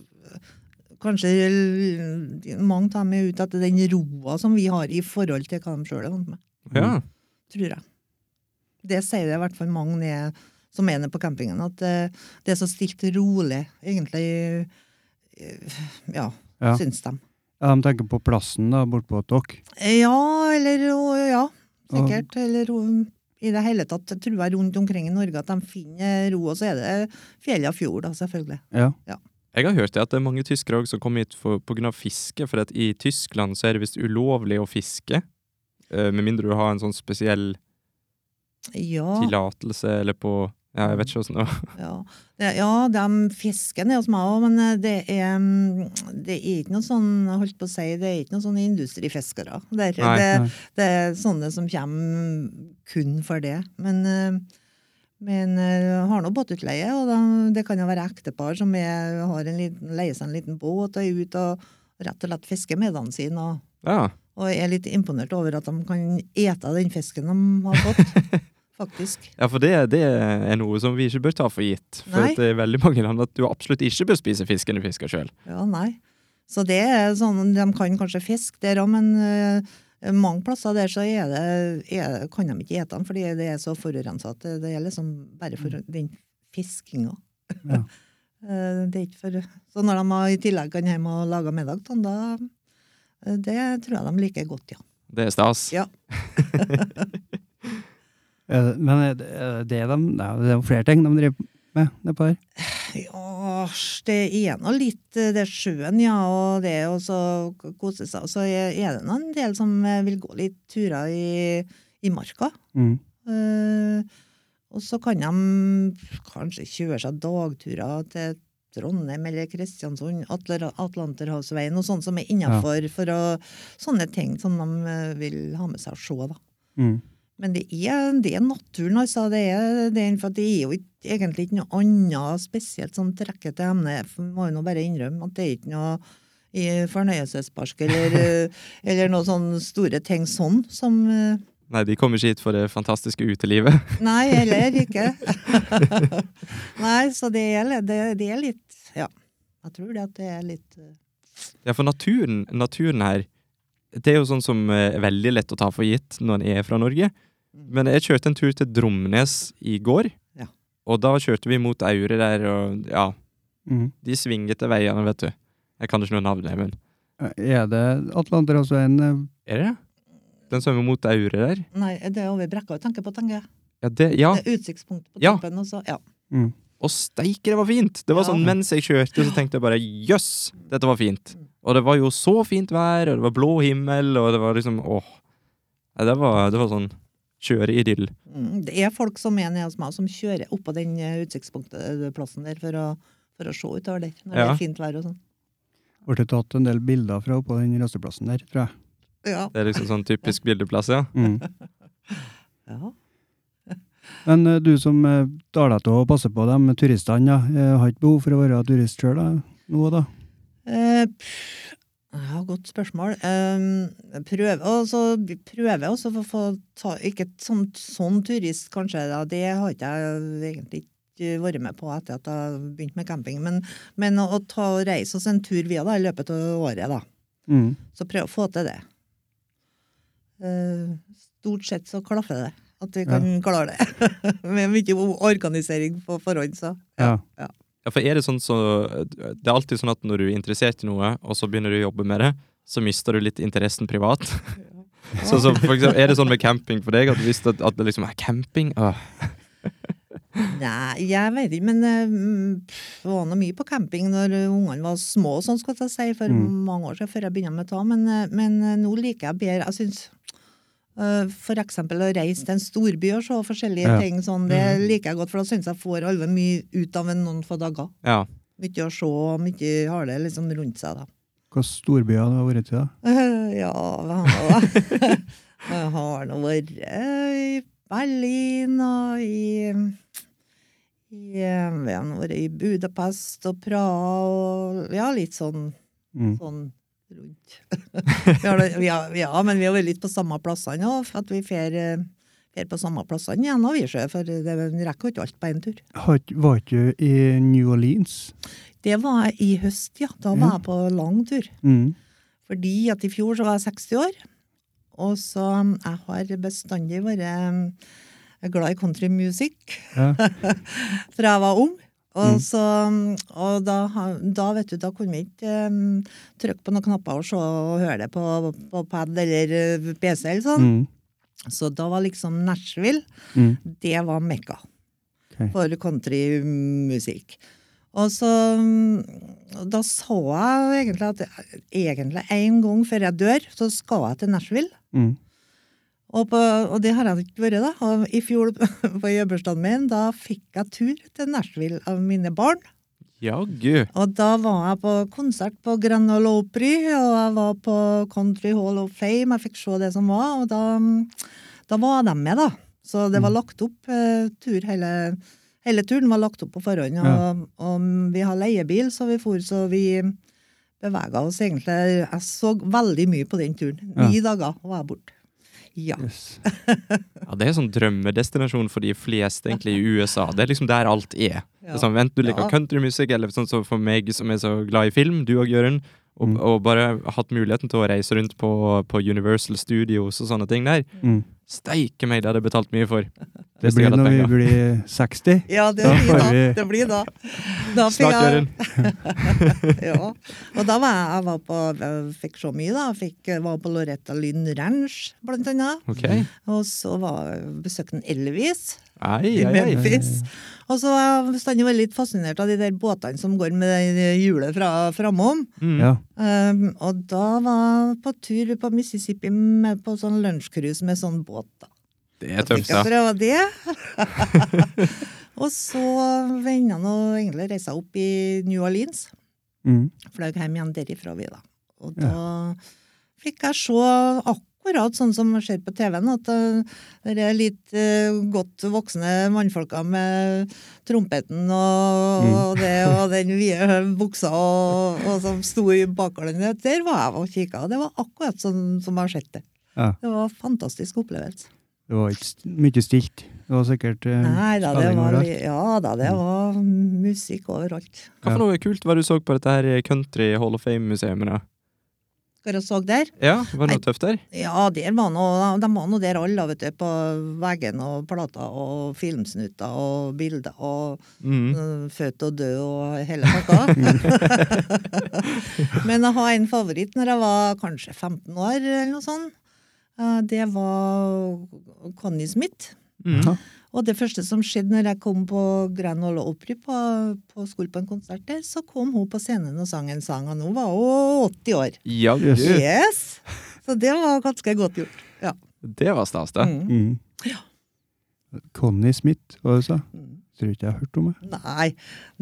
kanskje l- mange tar meg ut etter den roa som vi har i forhold til hva de sjøl er vant med,
Ja.
tror jeg. Det sier det i hvert fall mange ned, som er nede på campingen, at eh, det er så stilt rolig, egentlig, eh, ja,
Ja.
syns de.
Ja, de tenker på plassen da, bort på Tok.
Ja, eller og- ja, sikkert. Eller og i det hele tatt, tror jeg rundt omkring i Norge at de finner ro. Og så er det fjell og fjord, da, selvfølgelig.
Ja.
Jeg har hørt det at det er mange tyskere også som kommer hit for, på grunn av fiske, for at i Tyskland så er det visst ulovlig å fiske. eh, Med mindre du har en sånn spesiell
Ja,
tillatelse eller på ja, Jeg vet ikke åssen det
Mm.
var.
ja. Det, ja de fisken er hos meg òg, men eh, det er, mm, det er ikke noe sånn holdt på å si, det er ikke noe sånne industrifiskere. Det er,
Nei,
det,
nei.
det er sånne som kommer kun for det. Men, eh, men eh, har nå båtutleie, og da, det kan jo være ektepar som er, har en liten, leier seg en liten båt og er ute og rett og slett fisker med den sin. Og,
Ja,
og er litt imponert over at de kan ete den fisken de har fått, faktisk.
ja for det, det er noe som vi ikke bør ta for gitt. For
Nei.
at det er veldig mange land at du absolutt ikke bør spise fisken du fisker sjøl.
Ja, nei. Så det er sånn, de kan kanskje fisk der òg, men eh, mange plasser der så er det, er, kan de ikke ete den, fordi det er så forurensa at det, det er liksom bare for den fiskinga.
Ja.
Eh, det er ikke for Så når de har- i tillegg kan hjem og lage middag, sånn, da eh, Det tror jeg de liker godt, ja.
Det er stas.
Ja.
Er det- Men er det, er det, de, nei, det er jo flere ting de driver med nedpå her.
Ja, det er nå litt eh, det er sjøen, ja, og det å så kose seg. Og så er er det nå en del som eh, vil gå litt turer i, i marka.
Mm.
Eh, og så kan de kanskje kjøre seg dagturer til Trondheim eller Kristiansund, Atler, Atlanterhavsveien og sånn som er innafor, for å, sånne ting som de eh, vil ha med seg og se, da.
Mm.
Men det er, det er naturen, altså. Det er, det er, for det er jo ikke, egentlig ikke noe annet spesielt som trekker til emne. Jeg må jo nå bare innrømme at det er ikke noe i fornøyelsespark eller, eh, eller noe sånn store ting sånn som eh,
Nei, de kommer ikke hit for det fantastiske utelivet.
Nei, heller ikke. Nei, så det er, li- det, det er litt Ja, jeg tror det at det er litt eh,
Ja, for naturen, naturen her Det er jo sånn som eh, er veldig lett å ta for gitt når en er fra Norge. Men jeg kjørte en tur til Dromnes i går.
Mm. Ja.
Og da kjørte vi mot Aure der, og ja
Mm.
De svingete veiene, vet du. Jeg kan ikke noe navn, men
Eh, Er det Atlanterhavsveien eh,
Er det det? Den som er mot Aure der?
Nei, det er over brekka jeg tenker på, tenker jeg.
Ja, det, ja.
Det er utsiktspunktet på
Ja.
toppen, og så Ja.
mm.
Og steike, det var fint! Det var
Ja.
sånn mens jeg kjørte, så tenkte jeg bare jøss, dette var fint. Og det var jo så fint vær, og det var blå himmel, og det var liksom åh. Ja, det, var, det var sånn kjøreidyll.
Mm, Det er folk som er nede hos meg, som kjører oppå den eh, utsiktspunktplassen der for å, for å se utover der når det
Ja.
er fint vær og sånn.
Ble tatt en del bilder fra oppå den rasteplassen der, tror jeg.
Ja.
Det er liksom sånn typisk bildeplass, ja.
Mm.
ja.
Men eh, du som eh, tar deg til å passe på dem turistene, da, eh, har ikke behov for å være turist sjøl nå, da?
Eh, pff, ja, godt spørsmål. Eh, prøve altså, prøve også for å få ta Ikke sånn, sånn turist, kanskje. Da. Det har ikke jeg egentlig ikke vært med på etter at jeg begynte med camping. Men, men å ta og reise oss en tur via da, i løpet av året, da.
Mm.
Så prøv å få til det. Eh, Stort sett så klaffer det. At vi kan klare det. Med mye organisering på forhånd, så.
Ja.
Ja, for er det sånn så Det er alltid sånn at når du er interessert i noe, og så begynner du å jobbe med det, så mister du litt interessen privat. Så, så for eksempel, er det sånn med camping for deg at du visste at, at det liksom er camping? Åh.
Nei, jeg vet ikke, men eh, mm, pff, det var nå mye på camping når eh, ungene var små, og sånn skal jeg si, for
Mm.
mange år siden før jeg begynte med det. Men, eh, men eh, nå liker jeg bedre Jeg syns for eksempel å reise til en storby og se forskjellige
Ja. Mm.
ting sånn, det liker jeg godt, for da syns jeg får alve mye ut av en noen få dager.
Ja.
Mye å se, og mye har det liksom rundt seg, da.
Hvilke storbyer det har vært til, da?
Eh, Ja, hva har det da? Jeg har nå vært eh, i Berlin og i, i eh, Vi har nå vært i Budapest og Praha og ja, litt sånn,
Mm.
sånn rundt. vi har, da- vi har, ja, men vi har vært litt på samme plassene òg, for at vi fer, eh, fer på samme plassene igjen, har vi sjø, for det vi rekker jo ikke alt på én tur.
Har ikke- Var ikke du i New Orleans?
Det var jeg i høst, ja. Da var
Ja.
jeg på lang tur.
Mm.
Fordi at i fjor så var jeg 60 år, og så um, jeg har bestandig vært um, glad i countrymusikk
Ja.
fra jeg var ung. Og,
Mm.
så, um, og da, ha- da, vet du, da kunne vi ikke um, trykke på noen knapper og se og høre det på, på pad eller uh, PC eller sånn.
Mm.
Så da var liksom Nashville
Mm.
det var mekka
Ok.
for countrymusikk. Og så mm, og Da så jeg egentlig at egentlig en gang før jeg dør, så skal jeg til Nashville.
Mm.
Og, på, og det har jeg ikke vært, da. Og I fjor på jubileumsdagen min, da fikk jeg tur til Nashville av mine barn.
Jaggu.
Og da var jeg på konsert på Grand Ole Opry, og jeg var på Country Hall of Fame. Jeg fikk se det som var, og da, da var de med, da. Så det
Mm.
var lagt opp eh, tur hele, hele turen var lagt opp på forhånd. Og,
Ja.
og vi har leiebil, så vi for, så vi bevega oss egentlig Jeg så veldig mye på den turen. Ni dager var jeg borte. Ja.
Yes.
Ja, det er sånn drømmedestinasjon for de fleste egentlig i USA. Det er liksom der alt er. Det
Ja.
er sånn, Enten du liker
Ja.
countrymusikk, eller sånn som for meg som er så glad i film, du og Jørund, og,
Mm.
og bare hatt muligheten til å reise rundt på, på Universal Studios og sånne ting der.
Mm.
Steike meg, det hadde jeg betalt mye for.
Det
Hvis jeg
blir
hadde
når vi
penger.
blir 60.
Ja, det
Da
blir
får
da.
vi-
Det blir da. da fikk
Snart,
jeg-
Jørund.
ja. Og da var jeg, jeg var på, jeg fikk så mye, da. Jeg fikk, var på Loretta Lynn Ranch, blant annet.
Ok.
Mm.
Og så var, besøkte jeg Elvis
Ei,
i
ei, ei.
Memphis. Og så var jeg bestandig veldig litt fascinert av de der båtene som går med det hjulet fra, framom.
Mm.
Ja.
Um, og da var jeg på tur på Mississippi med, på sånn lunsjcruise med sånn båt, da.
Det er
Jeg
tøft,
fikk å
ja.
prøve det. og så vennene og egentlig reiste opp i New Orleans
Mm.
fløy hjem igjen derifra, vi, da. Og da fikk jeg se akkurat sånn som skjer på TV-en, at eh, det er litt eh, godt voksne mannfolka med trompeten og,
Mm.
og det, og den vide buksa og, og som sto i bakgården. Der var jeg og kikka, og det var akkurat sånn som jeg har sett det.
Ja.
Det var en fantastisk opplevelse.
Det var ikke st- mye stilt. Det var sikkert eh,
Nei da, det
spilling
var,
overalt. Mm.
li- ja, da, det var musikk overalt.
Hva for noe kult var det du så på dette her eh, Country Hall of Fame-museet? da?
Hva jeg så der?
Ja, var det
Nei.
noe tøft der?
Ja, der var noe, de var nå der alle, da, vet du. På veggene og plater og filmsnutter og bilder og
Mm.
øh, født og død og hele pakka. Men jeg har en favoritt når jeg var kanskje 15 år eller noe sånt. Eh, Det var Connie Smith.
Mm.
Ja.
Og det første som skjedde når jeg kom på Grand Ole Opry på, på skole på en konsert der, så kom hun på scenen og sang en sang, og nå var hun 80 år.
Jaggu.
Yes.
Yes! Så det var ganske godt gjort. Ja.
Det var stas, da.
Mm.
Mm. Connie Smith, hva du sa
Mm.
Tror ikke jeg har hørt om det.
Nei,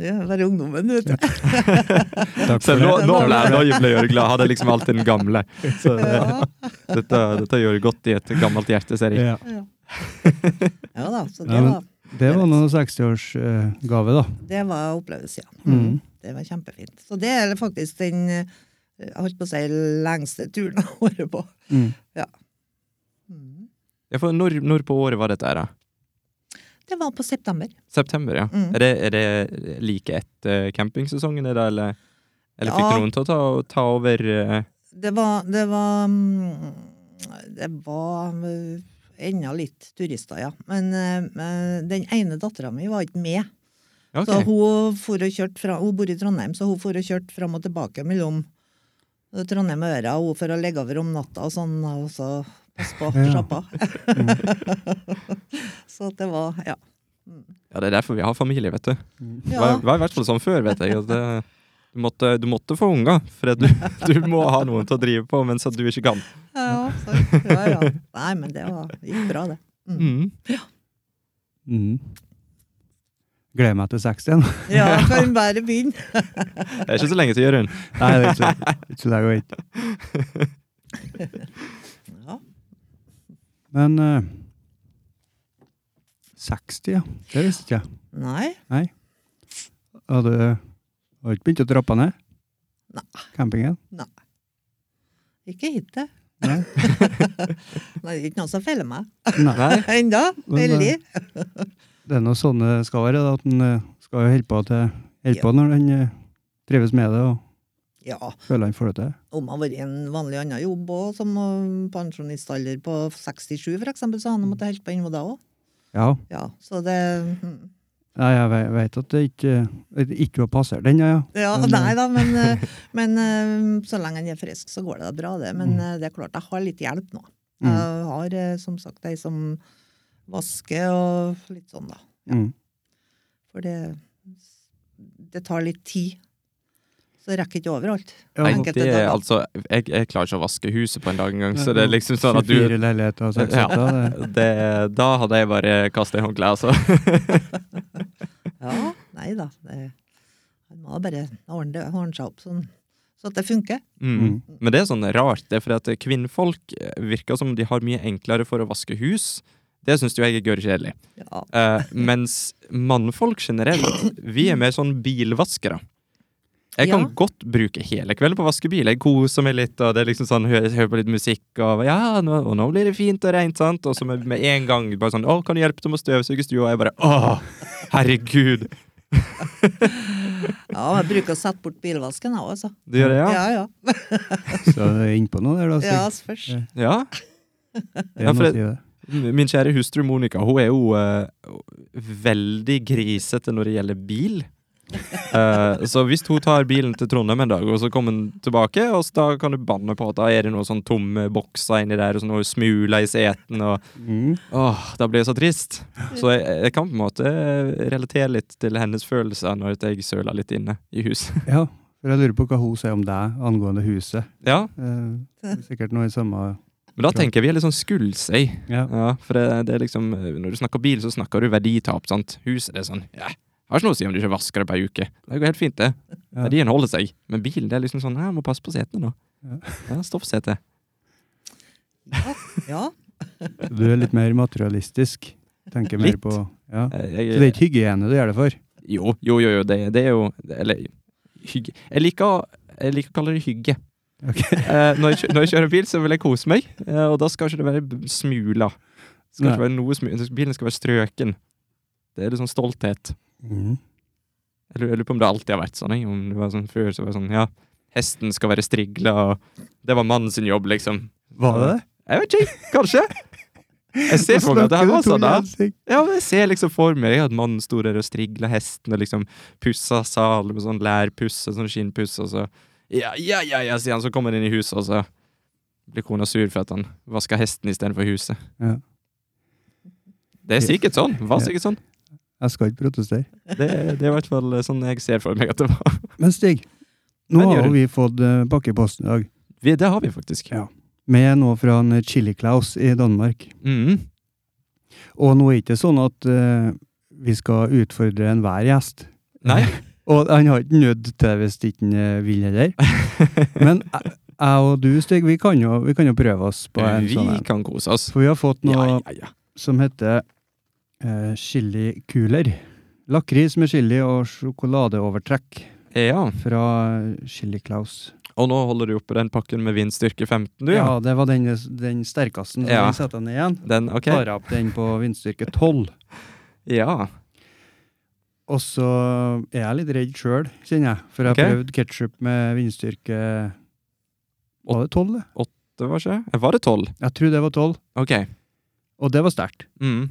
det er bare ungdommen, vet du.
Takk
Så
for
nå,
det.
nå
Takk
ble
for det.
jeg, nå ble jeg glad. Hadde jeg liksom alltid den gamle. Så det,
Ja.
dette, dette gjør godt i et gammelt hjerte, ser jeg.
Ja.
Ja. ja da,
Ja,
så det
men-
var,
Det var nå 60-årsgave, da.
det var opplevelse, ja.
Mhm.
Det var kjempefint. Så det er faktisk den eh, jeg holdt på å si lengste turen jeg har vært på.
Mm.
Mhm.
Ja, for når, når på året var dette her, da?
Det var på september.
September, ja.
Mm.
Er, det, er det like etter eh, campingsesongen, er det, eller, eller fikk
Ja.
noen til å ta, ta over eh,
Det var Det var, mm, det var eh, ennå litt turister, ja. Men eh, den ene dattera mi var ikke med.
ja, ok.
Så hun, for og kjørte fra, hun bor i Trondheim, så hun for og kjørte fram og tilbake mellom Trondheim og Øra, og hun for å legge over om natta og sånn, og så passe på
Ja. Mm.
sjappa. så det var Ja.
Ja, det er derfor vi har familie, vet du. Det
ja.
var, var i hvert fall sånn før, vet jeg. At det, du, måtte, du måtte få unger, for at du, du må ha noen til å drive på mens at du ikke kan.
Ja, så- ja, ja. Nei, men det var, gikk bra, det.
Mm.
Mm. Gleder meg til 60 igjen.
Ja, kan bare begynne.
Det er ikke så lenge til, Jørund.
Nei, det er ikke så- ikke så lenge å vente.
Ja.
Men eh, 60, ja. Det visste ikke jeg.
Nei.
Har du har du ikke begynt å trappe ned?
Nei.
Campingen?
Ikke hittil.
Nei.
Nei, det er ikke noen som feller meg.
Nei.
Nei?
Enda.
Men, eh,
Veldig.
Det er noe sånn det skal være, da, at en eh, skal jo holde på, til, holde
Ja.
på når en eh, trives med det og
Ja.
føler en får det til.
Om han har vært i en vanlig annen jobb òg, som um, pensjonistalder på 67 for eksempel, så han måtte holdt på innpå da òg.
Ja.
Ja, så det mm.
Nei, jeg ve- vet at det ikke, at det ikke var passert den, ja. ja.
Ja,
Men,
nei da, men, eh, men eh, så lenge han er frisk, så går det da bra, det. Men
Mm.
eh, det er klart, jeg har litt hjelp nå.
Mm.
Jeg har eh, som sagt ei som vasker og litt sånn, da.
Mm.
For det, det tar litt tid. Så jeg rekker ikke overalt.
Ja,
Nei,
Enkelte
det er
dager.
altså jeg, jeg klarer ikke å vaske huset på en dag engang, så det er liksom sånn at du
24 leiligheter og 6
Ja.
hytter, det
det, Da hadde jeg bare kastet i håndkleet, altså.
Ja, nei da. Det, han må bare ordne, det- ordne seg opp sånn, så at det funker.
Mm. Men det er sånn rart, det er fordi at kvinnfolk eh, virker som de har mye enklere for å vaske hus. Det syns jo jeg er gørrkjedelig.
Ja.
Eh, mens mannfolk generelt, vi er mer sånn bilvaskere. Jeg kan
Ja.
godt bruke hele kvelden på å vaske bil. Jeg koser meg litt, og det er liksom sånn, hører, hører på litt musikk, og ja, nå, og nå blir det fint og rent, sant? Og så med, med en gang bare sånn, å, kan du hjelpe til med å støvsuge stua? Og jeg bare, åh, herregud.
ja, jeg bruker å sette bort bilvasken, jeg òg, altså.
Du gjør det, ja?
Ja, ja.
er- Så det er innpå noe der, da.
ja altså,
sikkert.
først.
Ja.
Det er
Ja, for
noe å
det-
si det.
Min kjære hustru Monica, hun er jo eh, veldig grisete når det gjelder bil. Eh, så hvis hun tar bilen til Trondheim en dag, og så kommer den tilbake, og så da kan du banne på at da er det noen sånn tomme bokser inni der, og sånn noe smula i seten, og
Mm.
åh, da blir det så trist. Så jeg, jeg kan på en måte eh, relatere litt til hennes følelser når at jeg søler litt inne i huset.
Ja, for jeg lurer på hva hun sier om deg angående huset.
Ja,
Eh, det er sikkert noe i samme
men da tenker jeg vi er litt sånn skuldsei.
Ja.
Ja, for det, det er liksom Når du snakker bil, så snakker du verditap, sant? Huset det er sånn ja, Har ikke noe å si om du ikke vasker det på ei uke. Det går helt fint, det.
Ja.
Verdien holder seg. Men bilen, det er liksom sånn Jeg må passe på setene nå.
Ja.
Ja, Stoffsete.
Ja, ja.
Du er litt mer materialistisk. Tenker mer
Litt.
på ja. Så det er
Jeg,
ikke hygiene du gjør det for?
jo, jo, jo, jo det, det er jo det- Eller hygge Jeg liker, jeg liker å kalle det hygge.
Ok.
Eh, når, jeg, kjø- når jeg kjører bil, så vil jeg kose meg, eh, og da skal ikke det være b- smula. Det Skal ikke være noe smu bilen skal være strøken. Det er litt sånn stolthet.
Mm.
Jeg lurer, jeg lurer på om det alltid har vært sånn. jeg. Om det var sånn Før så var det sånn Ja, hesten skal være strigla, og det var mannen sin jobb, liksom.
Var det det?
Jeg vet ikke. Kanskje. Jeg ser for meg at det her var sånn. da. Ja, men jeg ser liksom for meg at mannen sto der og strigla hesten og liksom pussa salen med sånn lærpuss og sånn skinnpuss, og så Ja, ja, ja, ja, sier han, så kommer han inn i huset, og så blir kona sur for at han vaska hesten istedenfor huset.
Ja.
Det er sikkert sånn. Var sikkert sånn.
Jeg skal ikke protestere.
Det, det er i hvert fall sånn jeg ser for meg at det var.
Men Stig, nå
Men
har
Jørund-
jo vi fått eh, pakkeposten i dag.
Vi, det har vi faktisk.
Ja. Med noe fra en Chili Claus i Danmark.
Mm.
Og nå er det ikke sånn at eh, vi skal utfordre enhver gjest.
Nei.
Og han har ikke nødt til det hvis ikke han eh, vil heller. Men jeg jeg og du, Stig, vi kan jo, vi kan jo prøve oss på en
Vi
sånn en.
kan kose oss.
For vi har fått noe
Ja, ja, ja.
som heter eh, chilikuler. Lakris med chili og sjokoladeovertrekk
ja.
fra Chili Claus.
Og nå holder du oppe den pakken med vindstyrke 15, du, ja?
Ja, det var den, den sterkeste, så
Ja.
den setter jeg ned igjen.
Den, ok.
Tar opp den på vindstyrke 12.
Ja.
Og så er jeg litt redd sjøl, kjenner jeg. For jeg har
Ok.
prøvd ketsjup med vindstyrke Var det 12? det?
Det var ikke Var det 12?
Jeg tror det var 12,
Ok.
og det var sterkt.
Mm.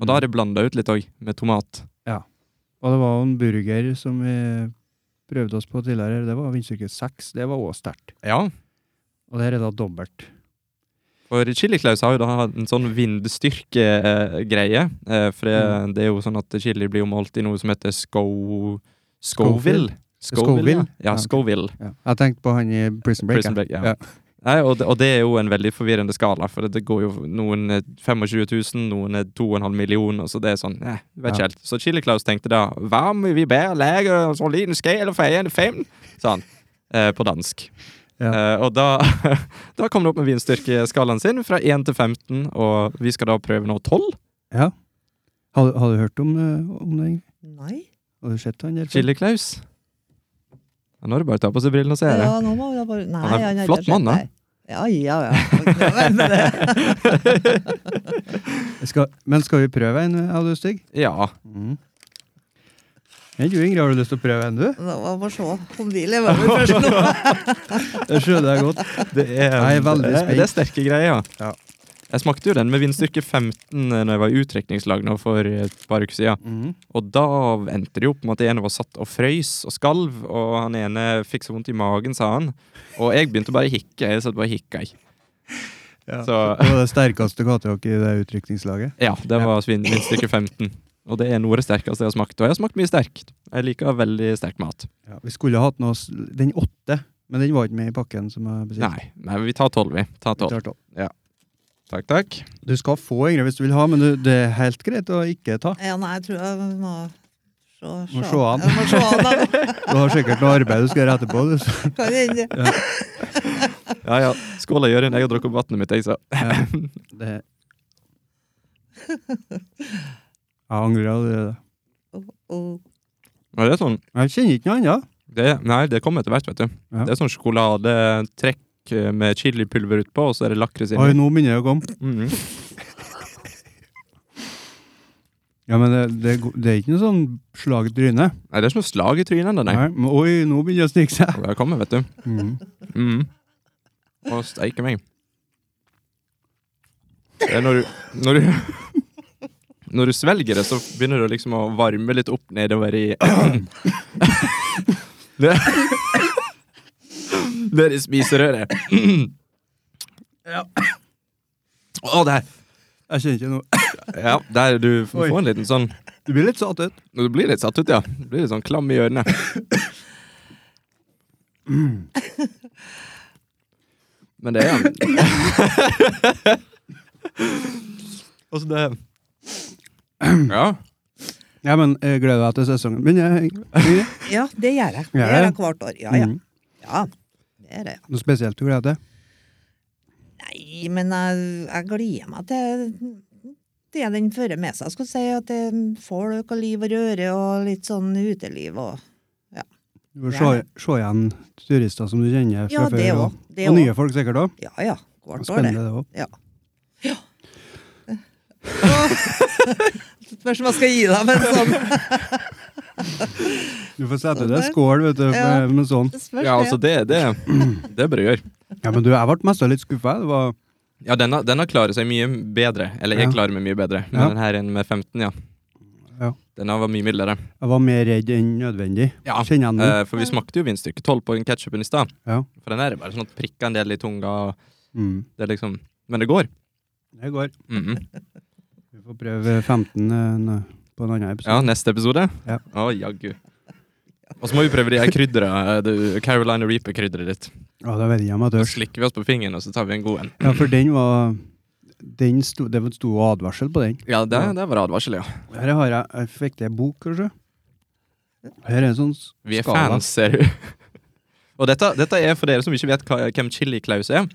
Og da er det blanda ut litt òg, med tomat.
Og det var jo en burger som vi prøvde oss på tidligere, det var vindstyrke 6. Det var òg sterkt.
Ja.
Og det her er da dobbelt.
For Chili Claus har jo da hatt en sånn vindstyrkegreie. Eh, for det, det er jo sånn at chili blir jo målt i noe som heter sco... Scoville.
Scoville?
Ja,
Ja, ok.
Scoville.
Ja. Jeg tenkte på han i Prison Break.
Prison Break, ja.
Ja.
Nei, og, det, og det er jo en veldig forvirrende skala, for det går jo noen er 25 000, noen er 2,5 millioner, så det er sånn eh, vet ikke
Ja.
helt. Så Chili Claus tenkte da Hva om vi ber lege så liten skala feien fem? sa han. Eh, på dansk.
Ja.
Eh, og da, da kom det opp med vinstyrkeskalaen sin fra 1 til 15, og vi skal da prøve nå 12.
ja. ja. Har, har du hørt om, eh, om det? egentlig?
Nei.
Har du sett han der?
Chili Claus. Ja, nå er det bare å ta på seg brillene og se.
Ja,
det.
nå må jeg bare Nei,
Han er
han er
flott
ikke
mann, da.
sett deg. Ja, ja, ja. Jeg mener det.
Skal, men skal vi prøve en, har du, Stig?
Ja.
Mm. Nei, du, Ingrid, har du lyst til å prøve en, du?
Nå må vi se om de lever med først nå.
Det skjønner jeg godt.
Det er,
Jeg er veldig
det, det er sterke greier.
Ja.
Jeg smakte jo den med vindstyrke 15 når jeg var i utdrikningslag nå for et par uker siden.
Mm.
Og da endte det jo opp med at en var satt og frøys og skalv, og han ene fikk så vondt i magen, sa han. Og jeg begynte bare å hikke. Jeg satt bare og hikka. jeg.
Ja.
Så
Det var det sterkeste katehockey i det utrykningslaget.
ja, det var svin- vindstyrke 15. Og det er noe av det sterkeste jeg har smakt. Og jeg har smakt mye sterkt. Jeg liker veldig sterk mat.
Ja, vi skulle hatt noe, s- den åtte, men den var ikke med i pakken. som jeg bestilte.
Nei, nei vi tar tolv, vi. Ta
Vi
tolv.
tar tolv.
Takk, takk.
Du skal få, Ingrid, hvis du vil ha, men du, det er helt greit å ikke ta.
Ja, nei, jeg tror jeg må se,
Må se an.
Jeg må se an, da.
Du har sikkert noe arbeid du skal gjøre etterpå. Du. så-
Kan hende.
Ja, ja. Skål, Jørund. Jeg har drukket opp vannet mitt, jeg, så.
Ja, det. Jeg angrer allerede.
Å, å.
Ja, det er sånn
Jeg kjenner ikke noe annet.
Det, nei, det kommer etter hvert, vet du.
Ja.
Det er sånn sjokoladetrekk eh, med chilipulver utpå, og så er det lakris
Oi,
inni.
nå begynner det å komme.
Mhm.
Ja, men det, det, er go- det er ikke noe sånn slag i trynet.
Nei, det er ikke noe slag i trynet ennå, nei.
Nei, men Oi, nå begynner det å snike seg.
Det kommer, vet du.
Mm.
Mhm. Å, steike meg. Det er når du Når du, når du svelger det, så begynner du liksom å varme litt opp nedover i Det Det er i spiserøret. Ja. Å, der.
Jeg kjenner ikke noe.
Ja, der du f-
Oi.
får en liten sånn
Du blir litt satt ut.
Du blir litt satt ut, ja. Du blir litt sånn klam i ørene. Men det er Altså, det Ja.
Ja, men eh, gleder deg til sesongen begynner. jeg, Ingrid.
Ja, det gjør jeg.
Gjør det?
Det gjør jeg hvert år. Ja, ja.
Mm.
ja. Det gjør jeg.
Noe spesielt du gleder deg til?
Nei, men jeg, jeg gleder meg til det den fører med seg. Jeg skulle si at det er folk og liv og røre og litt sånn uteliv og
Du får
Ja.
se, se igjen turister som du kjenner fra
Ja, det
før.
òg.
Og,
Det
og
òg.
nye folk sikkert òg.
Ja ja. Hvert år, det.
Spennende, det òg.
Spørs om jeg skal gi deg med en sånn.
Du får sette
Sånn
deg
der.
skål vet du,
Ja.
med, med sånn.
Spørs
ja, altså,
det.
det, det, det bør du gjøre.
Ja, men du, jeg ble mest litt skuffa. Det var
Ja, denne, denne klarer seg mye bedre. Eller jeg
Ja.
klarer meg mye bedre, men
Ja.
den her en med 15, ja.
Ja.
Denne var mye mildere.
Jeg var mer redd enn nødvendig.
Ja.
Kjenner jeg den nå?
Eh, for vi smakte jo vinstykket 12 på ketsjupen i stad.
Mm. Ja.
For den her er bare sånn at prikka en del i tunga. og
Mm.
Det er liksom Men det går.
Det går.
Mhm.
Vi får prøve 15 eh, på en annen episode.
Ja, neste episode?
Ja.
Å, jaggu. Og så må vi prøve de her kryddera. eh, det- Carolina Reaper-krydderet ditt.
Ja, da vet jeg ikke om jeg
Så
tør.
slikker vi oss på fingeren, og så tar vi en god en.
Ja, for den var den sto, det sto advarsel på den.
Ja, det, det var advarsel, ja.
Her har jeg, jeg fikk det i bok, kanskje. Her er en sånn s-
Vi er
skala.
fans, ser du. Og dette, dette er for dere som ikke vet hva- hvem Chili Klaus er.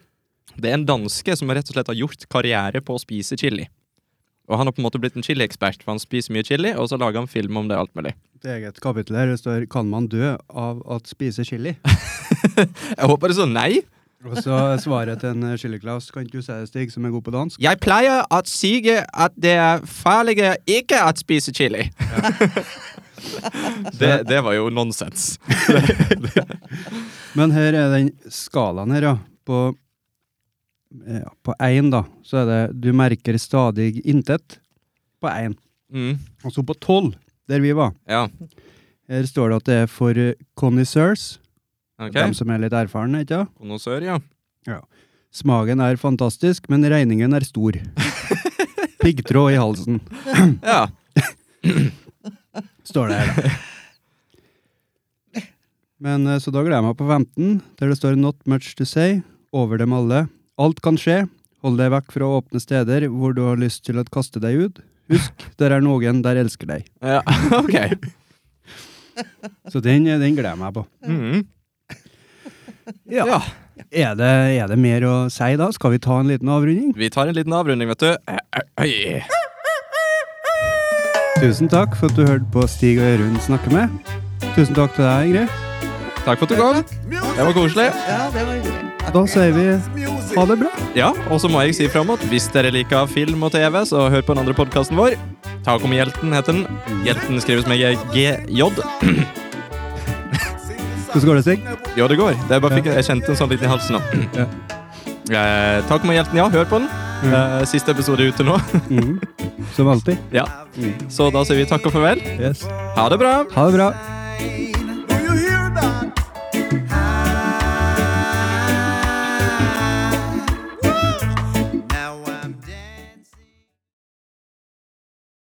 Det er en danske som rett og slett har gjort karriere på å spise chili. Og han har på en måte blitt en chiliekspert, for han spiser mye chili, og så lager han film om det alt mulig.
Et eget kapittel her det står 'Kan man dø av å spise chili?'
Jeg håper det så nei.
Og så er svaret til en eh, chiliklaus 'Kan ikke du si det, Stig, som er god på dansk?'
Jeg pleier å si at det er farlig ikke å spise chili. det, det var jo nonsens.
Men her er den skalaen her, ja. På eh, ja, på én, da, så er det 'Du merker stadig intet' på én.
Mm,
Og så på tolv, der vi var,
ja,
her står det at det er for eh, connoisseurs,
ok.
dem som er litt erfarne, ikke sant?
Konnoisseur, ja.
Smaken er fantastisk, men regningen er stor. Piggtråd i halsen,
ja.
står det her. da. Men eh, Så da gleder jeg meg på 15, der det står 'Not much to say'. Over dem alle. Alt kan skje. Hold deg vekk fra åpne steder hvor du har lyst til å kaste deg ut. Husk, der er noen der elsker deg.
ja. Ok.
Så den, eh, den gleder jeg meg på.
Mm.
Ja. Er, det, er det mer å si da? Skal vi ta en liten avrunding?
Vi tar en liten avrunding, vet du. Eh, eh, oi.
Tusen takk for at du hørte på Stig og Jørund snakke med. Tusen takk til deg, Ingrid.
Takk for at du kom. Det var koselig.
Ja, det var hyggelig.
Da sier vi ha det bra.
Ja, Og så må jeg si fram at hvis dere liker film og TV, så hør på den andre podkasten vår. Tak om hjelten heter den. Hjelten skrives med GJ.
Hvordan går det, Stig?
Ja, det går. Det er bare fikk, jeg kjente en sånn litt i halsen nå.
Ja.
Eh, takk med hjelten, ja. Hør på den. Eh, siste episode er ute nå.
Mhm. Som alltid.
ja. Så da sier vi takk og farvel.
Yes.
Ha det bra.
Ha det bra.
Bye.